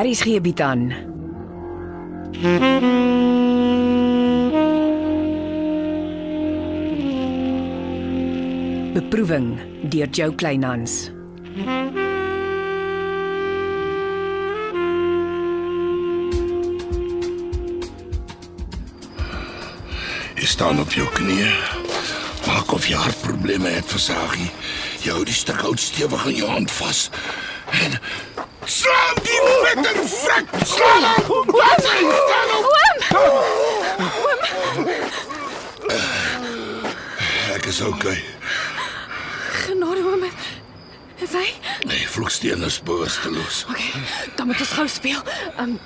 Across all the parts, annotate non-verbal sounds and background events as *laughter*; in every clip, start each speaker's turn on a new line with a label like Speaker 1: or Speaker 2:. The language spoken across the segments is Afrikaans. Speaker 1: Aries gee bied aan. Beproeving deur Jo Kleinhans.
Speaker 2: Jy staan op jou knieë. Maak of jy hartprobleme het, versagie. Jy hou die stuk hout stewig in jou hand vas. En slaan die bitter vrek. Slaan hom. Laat hy staan op. Eh, Ek is okay.
Speaker 3: Genade oom. Is hy?
Speaker 2: Nee, vloeksteen is bewusteloos.
Speaker 3: Okay, dan moet ons gou speel. Um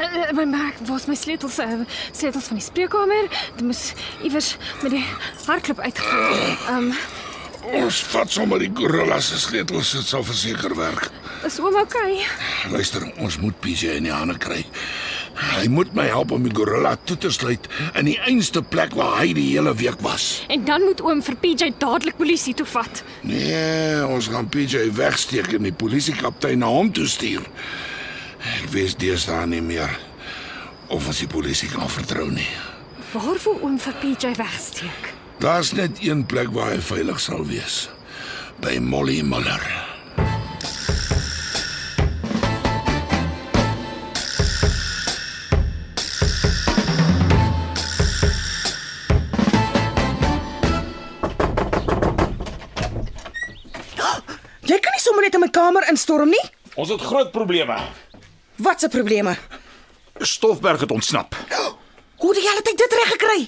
Speaker 3: eh, my merk was my sleutels, eh, sleutels van die spreekkamer. Dit moes iewers met die hardklop uitgegooi. Um
Speaker 2: Ons vat sommer die gorilla se sleutels, dit sal verseker werk.
Speaker 3: is oom okay?
Speaker 2: Luister, ons moet PJ in die hande kry. Hy moet my help om die gorilla toe te sluit in die einste plek waar hy die hele week was.
Speaker 3: En dan moet oom vir PJ dadelik polisie toe vat.
Speaker 2: Nee, ons gaan PJ wegsteek en die polisiekaptein na hom toe stuur. Ek weet deesdae nie meer of ons die polisie kan vertrou nie.
Speaker 3: Waarvoor oom vir PJ wegsteek?
Speaker 2: Daar's net een plek waar hy veilig sal wees. By Molly Muller.
Speaker 4: Jy kan nie sommer net in my kamer instorm nie.
Speaker 5: Ons het groot probleme.
Speaker 4: Wat se probleme?
Speaker 5: Stoffberg het ontsnap.
Speaker 4: Hoe het jy al dit reg gekry?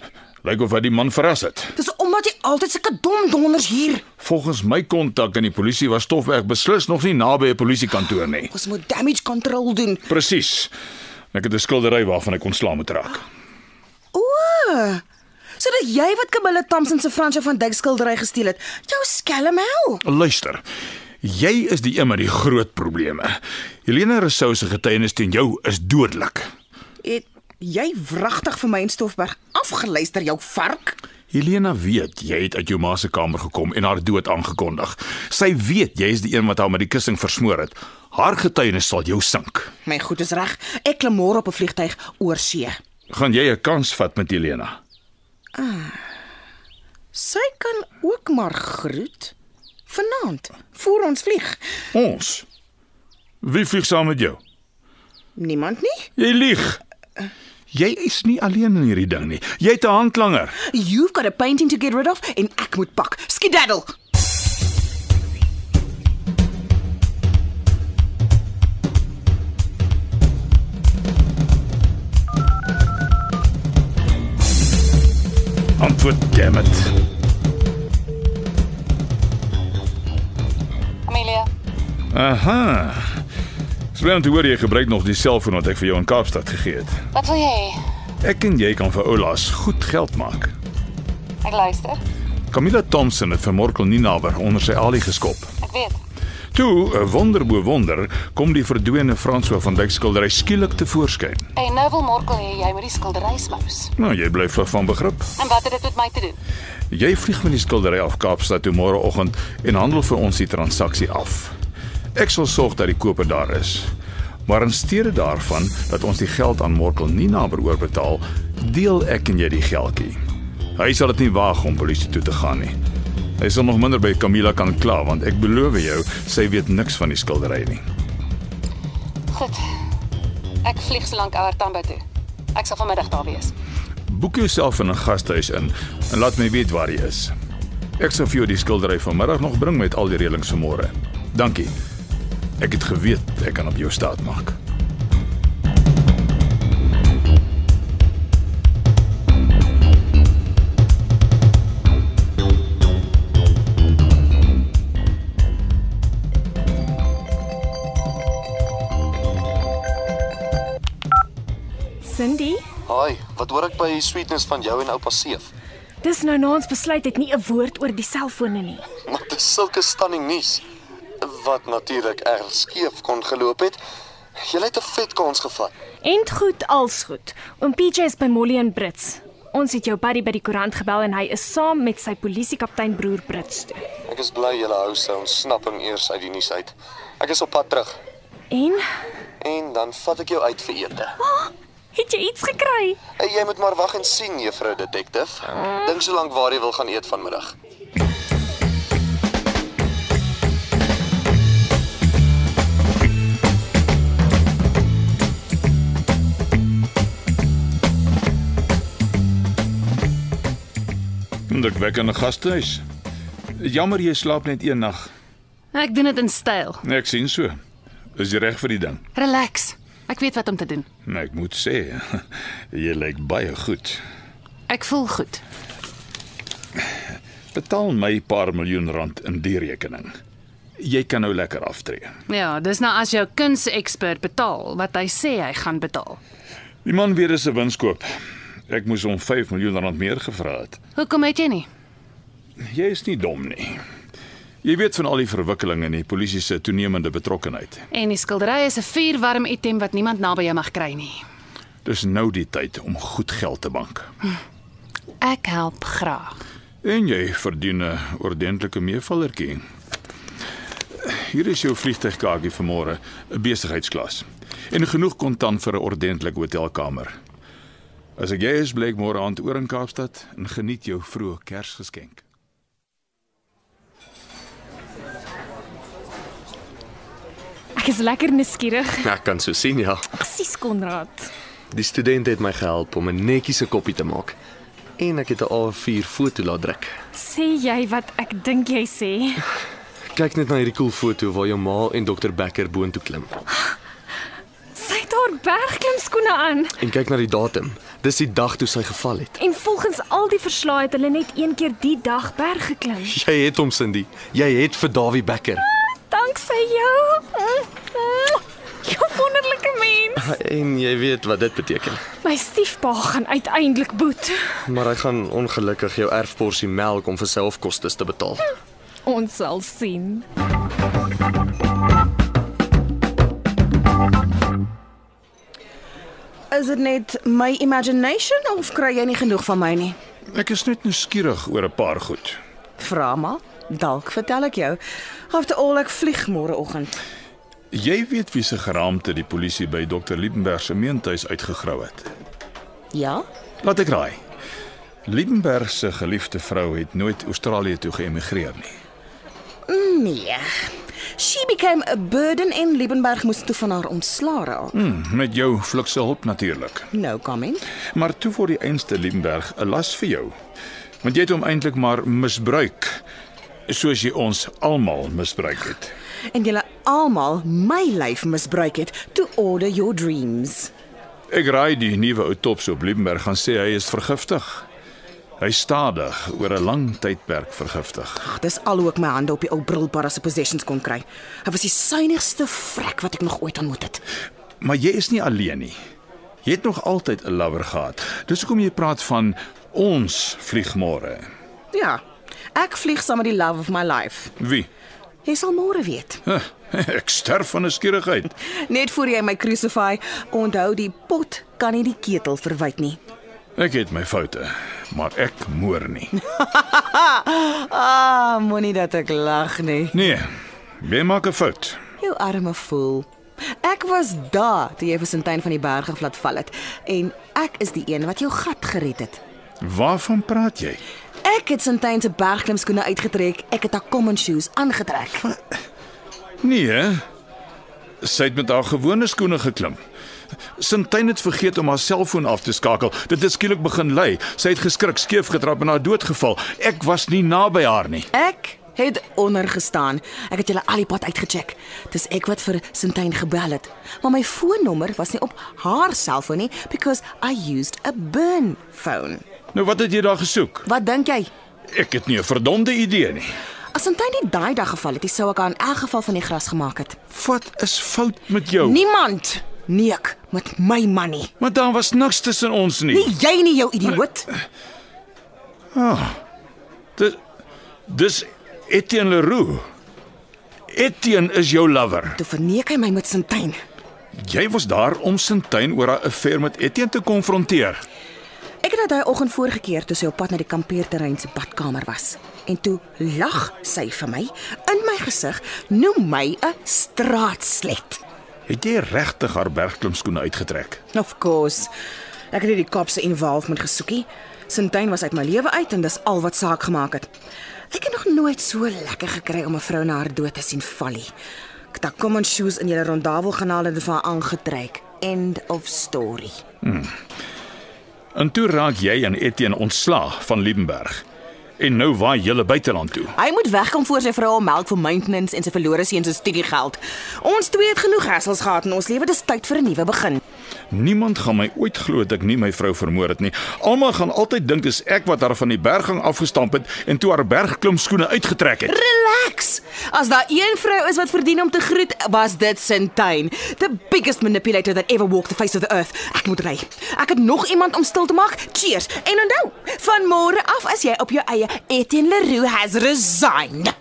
Speaker 5: Lyk of hy die man verras het.
Speaker 4: Dis omdat jy altyd sulke dom donders hier.
Speaker 5: Volgens my kontak in die polisie was Stoffberg beslis nog nie naby 'n polisiekantoor nie.
Speaker 4: Ons moet damage control doen.
Speaker 5: Presies. Ek het 'n skildery waarvan ek ontslaa moet raak.
Speaker 4: O. Sodat jy wat Camilla Thompson se Fransjo van Dyk skildery gesteel het, jou skelm hel.
Speaker 5: Luister. Jy is die een met die groot probleme. Helena Rousseau se getuienis teen jou is dodelik.
Speaker 4: Het jy wragtig vir my en Stoffberg afgeluister jou vark?
Speaker 5: Helena weet jy het uit jou ma se kamer gekom en haar dood aangekondig. Sy weet jy is die een wat haar met die kussing versmoor het. Haar getuienis sal jou sink.
Speaker 4: My goed is reg. Ek klim môre op 'n vliegtyg oor see.
Speaker 5: Gaan jy 'n kans vat met Helena?
Speaker 4: Sy kan ook maar groet. Vanaand, voor ons vlieg.
Speaker 5: Ons. Wie vlieg saam met jou?
Speaker 4: Niemand nie?
Speaker 5: Jy lieg. Jy is nie alleen in hierdie ding nie. Jy het 'n handlanger.
Speaker 4: You've got a painting to get rid of en ek moet pak. Skedaddle.
Speaker 5: Antwoord, damn it.
Speaker 6: Amelia,
Speaker 5: Aha. Slim om te hoor jy gebruik nog die selfoon wat ek vir jou in Kaapstad gegee het.
Speaker 6: wat wil jy? hê?
Speaker 5: Ek en jy kan vir Oulas goed geld maak.
Speaker 6: Ek luister.
Speaker 5: Camilla Thompson het vir Morkel Ninaber onder sy alie geskop.
Speaker 6: Ek weet.
Speaker 5: Toe, 'n wonder bo wonder, kom die verdwene Franso van Dyk skildery skielik tevoorskyn.
Speaker 6: Hey, nou wil Morkel hê jy moet die skildery smous.
Speaker 5: Nou, jy bly vlug van begrip.
Speaker 6: En wat het dit met my te doen?
Speaker 5: Jy vlieg met die skildery af Kaapstad toe môreoggend en handel vir ons die transaksie af. Ek sal sorg dat die koper daar is. Maar in steede daarvan dat ons die geld aan Morkel Nina oorbetaal, deel ek en jy die geldjie. Hy sal dit nie waag om polisie toe te gaan nie. Hy sal nog minder by Camilla kan kla want ek beloof jou, sy weet niks van die skildery nie.
Speaker 6: Goed. Ek vlieg solank ouer Tambo toe. Ek sal vanmiddag daar wees.
Speaker 5: Boek jouself in 'n gasthuis in en laat my weet waar jy is. Ek sal vir jou die skildery vanmiddag nog bring met al die reëlings vir môre. Dankie. Ek het geweet ek kan op jou staat maak.
Speaker 3: Cindy,
Speaker 7: Haai, wat hoor ek by sweetness van jou en oupa Seef?
Speaker 3: dis nou na ons besluit het nie 'n woord oor die selfone nie.
Speaker 7: Maar dis sulke stunning nuus. Wat natuurlik erg skeef kon geloop het. Jy het 'n vet kans gevat.
Speaker 3: End goed, als goed. Oom PJ is by Molly en Brits. Ons het jou buddy by die koerant gebel en hy is saam met sy polisiekaptein broer Brits toe.
Speaker 7: Ek is bly jy hou sy ontsnapping eers uit die nuus uit. Ek is op pad terug.
Speaker 3: En
Speaker 7: en dan vat ek jou uit vir ete.
Speaker 3: het jy iets gekry?
Speaker 7: En Jy moet maar wag en sien, juffrou detektief. Dink so lank waar jy wil gaan eet vanmiddag.
Speaker 8: Indrukwekkende gastehuis. Jammer jy slaap net een nag.
Speaker 6: Ek doen dit in styl.
Speaker 8: Ek sien so. Is jy reg vir die ding?
Speaker 6: Relax. Ek weet wat om te doen.
Speaker 8: Nee, ek moet sê, *laughs* jy lyk baie goed.
Speaker 6: Ek voel goed.
Speaker 8: Betaal my paar miljoen rand in die rekening. Jy kan nou lekker aftree.
Speaker 6: Ja, dis nou as jou kunsekspert betaal wat hy sê hy gaan betaal.
Speaker 8: Die man weer is 'n winskoop. Ek moes hom 5 miljoen rand meer gevra het.
Speaker 6: Hoekom het jy nie?
Speaker 8: Jy is nie dom nie. Jy weet van al die verwikkelinge en die polisie se toenemende betrokkeheid.
Speaker 6: En die skildery is 'n vuurwarm item wat niemand naby jou mag kry nie.
Speaker 8: Dis nou die tyd om goed geld te bank.
Speaker 6: Ek help graag.
Speaker 8: En jy verdien 'n ordentlike meevallertjie. Hier is jou vliegtuigkaartjie vir môre, 'n besigheidsklas. En genoeg kontant vir 'n ordentlike hotelkamer. As ek jy is, bly ek môre aand oor in Kaapstad en geniet jou vroeë Kersgeskenk.
Speaker 3: Ek is lekker nuuskierig.
Speaker 9: Ek kan so sien ja.
Speaker 3: Presies Konrad.
Speaker 9: Die studente het my gehelp om 'n netjiese koppie te maak en ek het 'n A4 foto laat druk.
Speaker 3: Sê jy wat ek dink jy sê?
Speaker 9: Kyk net na hierdie cool foto waar jou ma en dokter Becker boontoe klim.
Speaker 3: Sy het haar bergklimskoene aan
Speaker 9: En kyk na die datum. Dis die dag toe sy geval het.
Speaker 3: en volgens al die verslae het hulle net een keer die dag berg geklim.
Speaker 9: Jy het hom Cindy. Jy het vir Dawie Becker.
Speaker 3: Danksy jou. Jou wonderlike mens.
Speaker 9: En jy weet wat dit beteken.
Speaker 3: My stiefpa gaan uiteindelik boet.
Speaker 9: Maar hy gaan ongelukkig jou erfporsie melk om vir selfkostes te betaal.
Speaker 3: Ons sal sien.
Speaker 4: Is dit net my imagination of kry jy nie genoeg van my nie?
Speaker 8: Ek is net nuuskierig oor 'n paar goed.
Speaker 4: Vra maar, dalk vertel ek jou. After all ek vlieg môreoggend.
Speaker 8: Jy weet wie se geraamte die polisie by Dr. Liebenberg se meentuis uitgegrou het.
Speaker 4: Ja?
Speaker 8: Laat ek raai. Liebenberg se geliefde vrou het nooit Australië toe geëmigreer nie.
Speaker 4: Nee. She became a burden en Liebenberg moes toe van haar ontslae raak.
Speaker 8: Hm, met jou flikse hulp natuurlik.
Speaker 4: No comment.
Speaker 8: Maar toe word die einste Liebenberg 'n las vir jou. Want jy het hom eintlik maar misbruik soos jy ons almal misbruik het.
Speaker 4: En julle almal my lyf misbruik het to order your dreams.
Speaker 8: Ek raai die nuwe autopsie op Liebenberg gaan sê hy is vergiftig. Hy is stadig oor 'n lang tydperk vergiftig.
Speaker 4: Ag, Ah, dis al hoe ek my hande op die ou brilpara se possessions kon kry. Hy was die suinigste vrek wat ek nog ooit ontmoet het.
Speaker 8: Maar jy is nie alleen nie. Jy het nog altyd 'n lover gehad. Dis hoekom jy praat van ons vlieg môre.
Speaker 4: Ja. Ek vlieg saam met die love of my life.
Speaker 8: Wie?
Speaker 4: Jy sal môre weet.
Speaker 8: Huh, *laughs* ek sterf van nuuskierigheid.
Speaker 4: Net voor jy my crucify, onthou die pot kan nie die ketel verwyd nie.
Speaker 8: Ek het my foute, maar ek moer nie.
Speaker 4: Ah, moenie dat ek lag nie.
Speaker 8: Nee, jy maak 'n fout.
Speaker 4: Jou arme voel. Ek was daar toe jy vir Sintyn van die berg af laat val het en ek is die een wat jou gat gered het.
Speaker 8: Waarvan praat jy?
Speaker 4: Ek het Sintyn se bergklimskoene uitgetrek. Ek het haar common shoes aangetrek.
Speaker 8: Nee. hè? Sy het met haar gewone skoene geklim. Sintyn het vergeet om haar selfoon af te skakel. Dit het skielik begin lei. Sy het geskrik, skeef getrap en haar dood geval. Ek was nie naby haar nie.
Speaker 4: Ek het onder gestaan. Ek het julle al die pad uitgecheck. Dis ek wat vir Sintyn gebel het. Maar my foonnommer was nie op haar selfoon nie because I used a burn phone.
Speaker 8: Nou wat het jy daar gesoek?
Speaker 4: Wat dink jy?
Speaker 8: Ek het nie 'n verdomde idee nie.
Speaker 4: As Sintyn nie daai dag geval het, nie, sou ek haar in elk geval van die gras gemaak het.
Speaker 8: Wat is fout met jou?
Speaker 4: Niemand nie ek met my man nie.
Speaker 8: Maar daar was niks tussen ons nie.
Speaker 4: Nie jy nie jou idioot.
Speaker 8: Dis dis Etienne Leroux. Etienne is jou lover.
Speaker 4: Toe verneek hy my met Sintyn.
Speaker 8: Jy was daar om Sintyn oor haar affair met Etienne te konfronteer.
Speaker 4: Ek het haar daai oggend voorgekeer toe sy op pad na die kampeerterrein se badkamer was. En toe lag sy vir my in my gesig, noem my 'n straatslet.
Speaker 8: Het jy regtig haar bergklimskoene uitgetrek?
Speaker 4: Of course. Ek het nie die kop se involvement gesoekie. Sintyn was uit my lewe uit en dis al wat saak gemaak het. Ek het nog nooit so lekker gekry om 'n vrou na haar dood te sien val nie. Ek het haar common shoes in julle rondavel gaan haal en dit vir haar aangetrek. End of story.
Speaker 8: En toe raak jy en Etienne ontslaa van Liebenberg. En nou waai julle buiteland toe.
Speaker 4: Hy moet wegkom voor sy vrou hom melk vir maintenance en sy verlore seun se studiegeld. Ons twee het genoeg hassels gehad in ons lewe, dis tyd vir 'n nuwe begin.
Speaker 8: Niemand gaan my ooit glo dat ek nie my vrou vermoor het nie. Almal gaan altyd dink dis ek wat haar van die berggang afgestamp het en toe haar bergklimskoene uitgetrek het.
Speaker 4: Relax. As daar een vrou is wat verdien om te groet, was dit Sintyn, the biggest manipulator that ever walked the face of the earth. Ek moet ry. Ek het nog iemand om stil te maak. Cheers. En onthou, van môre af as jy op jou eie Etienne Leroux has resigned.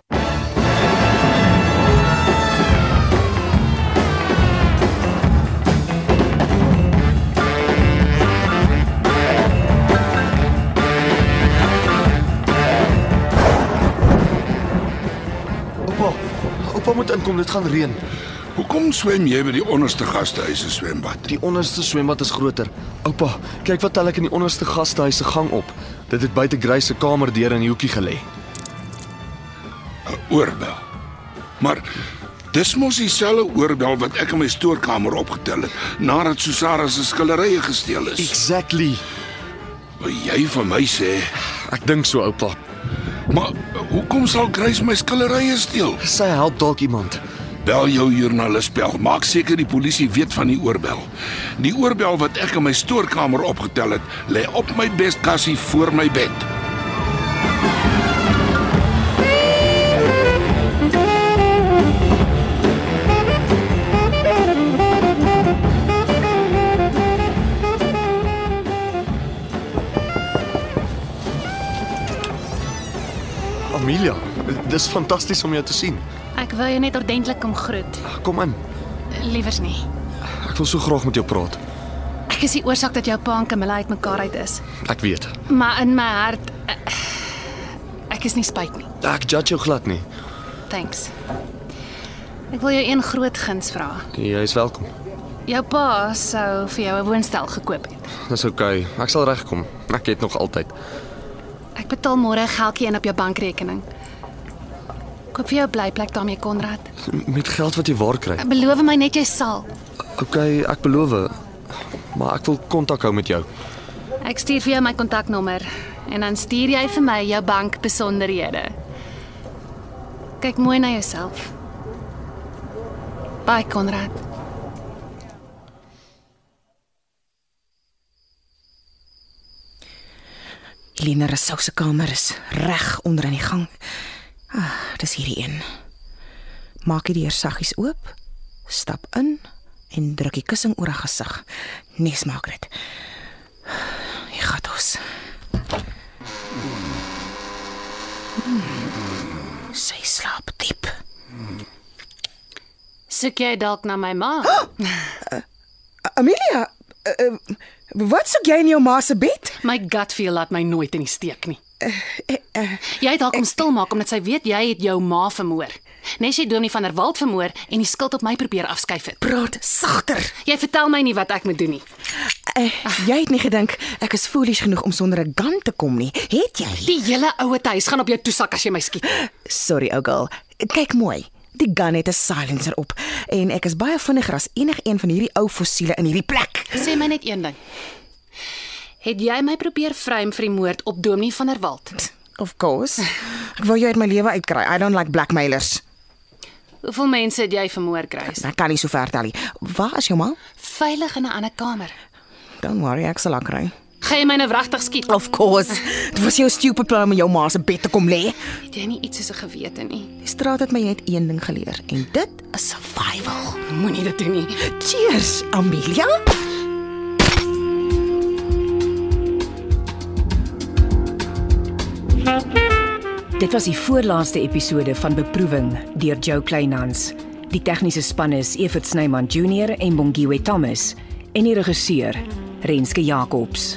Speaker 7: Oupa, oupa moet inkom, dit gaan reën.
Speaker 5: Hoekom swem jy by die onderste gastehuis se swembad?
Speaker 7: Die onderste swembad is groter. Oupa, kyk wat tel ek in die onderste gastehuis se gang op. Dit het buite Grace se kamer deur in die hoekie gelê.
Speaker 5: 'n Oorbel. Maar dis mos dieselfde oorbel wat ek in my stoorkamer opgetel het nadat Susara se skilderye gesteel is.
Speaker 7: Exactly.
Speaker 5: Wil jy van my sê,
Speaker 7: Ek dink so, oupa.
Speaker 5: maar hoekom sal Grace my skilderye steel?
Speaker 7: Sy help dalk iemand.
Speaker 5: Bel jou joernalis bel. Maak seker die polisie weet van die oorbel. Die oorbel wat ek in my stoorkamer opgetel het, lê op my beskassie voor my bed.
Speaker 7: Amelia, dis fantasties om jou te sien.
Speaker 6: Ek wil jou net ordentlik kom groet.
Speaker 7: Kom in.
Speaker 6: Liewers nie.
Speaker 7: Ek wil so graag met jou praat.
Speaker 6: Ek is die oorsaak dat jou pa en Camilla uitmekaar uit is.
Speaker 7: Ek weet.
Speaker 6: Maar in my hart eh, ek is nie spyt nie.
Speaker 7: Ek judge jou glad nie.
Speaker 6: Thanks. Ek wil jou een groot guns vra.
Speaker 7: Jy is welkom.
Speaker 6: Jou pa sou vir jou 'n woonstel gekoop het.
Speaker 7: Dis oukei. Okay. Ek sal regkom. Ek het nog altyd.
Speaker 6: Ek betaal môre 'n geldjie in op jou bankrekening. Koop vir jou 'n blyplek daarmee Konrad.
Speaker 7: Met geld wat jy waar kry.
Speaker 6: Beloof my net jy sal.
Speaker 7: Okay, ek beloof. Maar ek wil kontak hou met jou.
Speaker 6: Ek stuur vir jou my kontaknommer en dan stuur jy vir my jou bankbesonderhede. Kyk mooi na jouself. Bye Konrad.
Speaker 4: Lina se sou se kamer is reg onder in die gang. Ah, dis hierdie een. Maak die deur saggies oop, stap in en druk die kussing oor haar gesig. Nes maak dit. Hier gaan ons. Hmm, Sy slaap diep.
Speaker 6: Soek jy dalk na my
Speaker 4: *gasps*
Speaker 6: ma?
Speaker 4: Eh, Amelia, uh, uh, wat soek jy in jou ma se bed? Eh,
Speaker 6: My gut feel laat my nooit in die steek nie. Jy het haar kom stil maak omdat sy weet jy het jou ma vermoor. Nes jy Dominie van der Walt vermoor en die skuld op my probeer afskuif het.
Speaker 4: Praat sagter.
Speaker 6: Jy vertel my nie wat ek moet doen nie.
Speaker 4: Uh, jy het nie gedink ek is foolish genoeg om sonder 'n gun te kom nie, het jy?
Speaker 6: Die hele ouete huis gaan op jou toesak as jy my skiet.
Speaker 4: Sorry, ou girl. Kyk mooi. Die gun het 'n silencer op en ek is baie vinniger as enigiemand van hierdie ou fossiele in hierdie plek.
Speaker 6: Sê my net een ding. Het jy my probeer frame vir die moord op Dominie van der Walt?
Speaker 4: Of course. Ek wou jou uit my lewe uitkry. I don't like blackmailers.
Speaker 6: Hoeveel mense het jy vermoor kry?
Speaker 4: Ek kan nie so ver tel nie. Waar is jou ma?
Speaker 6: Veilig in 'n ander kamer.
Speaker 4: Don't worry, ek sal haar kry.
Speaker 6: Gaan jy my nou wragtig skiet?
Speaker 4: Of course. Dit was jou stupid plan om in jou ma se bed te kom lê.
Speaker 6: Het jy nie iets soos 'n gewete nie?
Speaker 4: Die straat het my net een ding geleer en dit is survival.
Speaker 6: Moenie dit doen nie.
Speaker 4: Cheers, Amelia.
Speaker 1: Dit was die voorlaaste episode van Beproewing deur Jo Kleinhans. Die tegniese span is Evert Snyman Junior en Bongwe Thomas en die regisseur Renske Jacobs.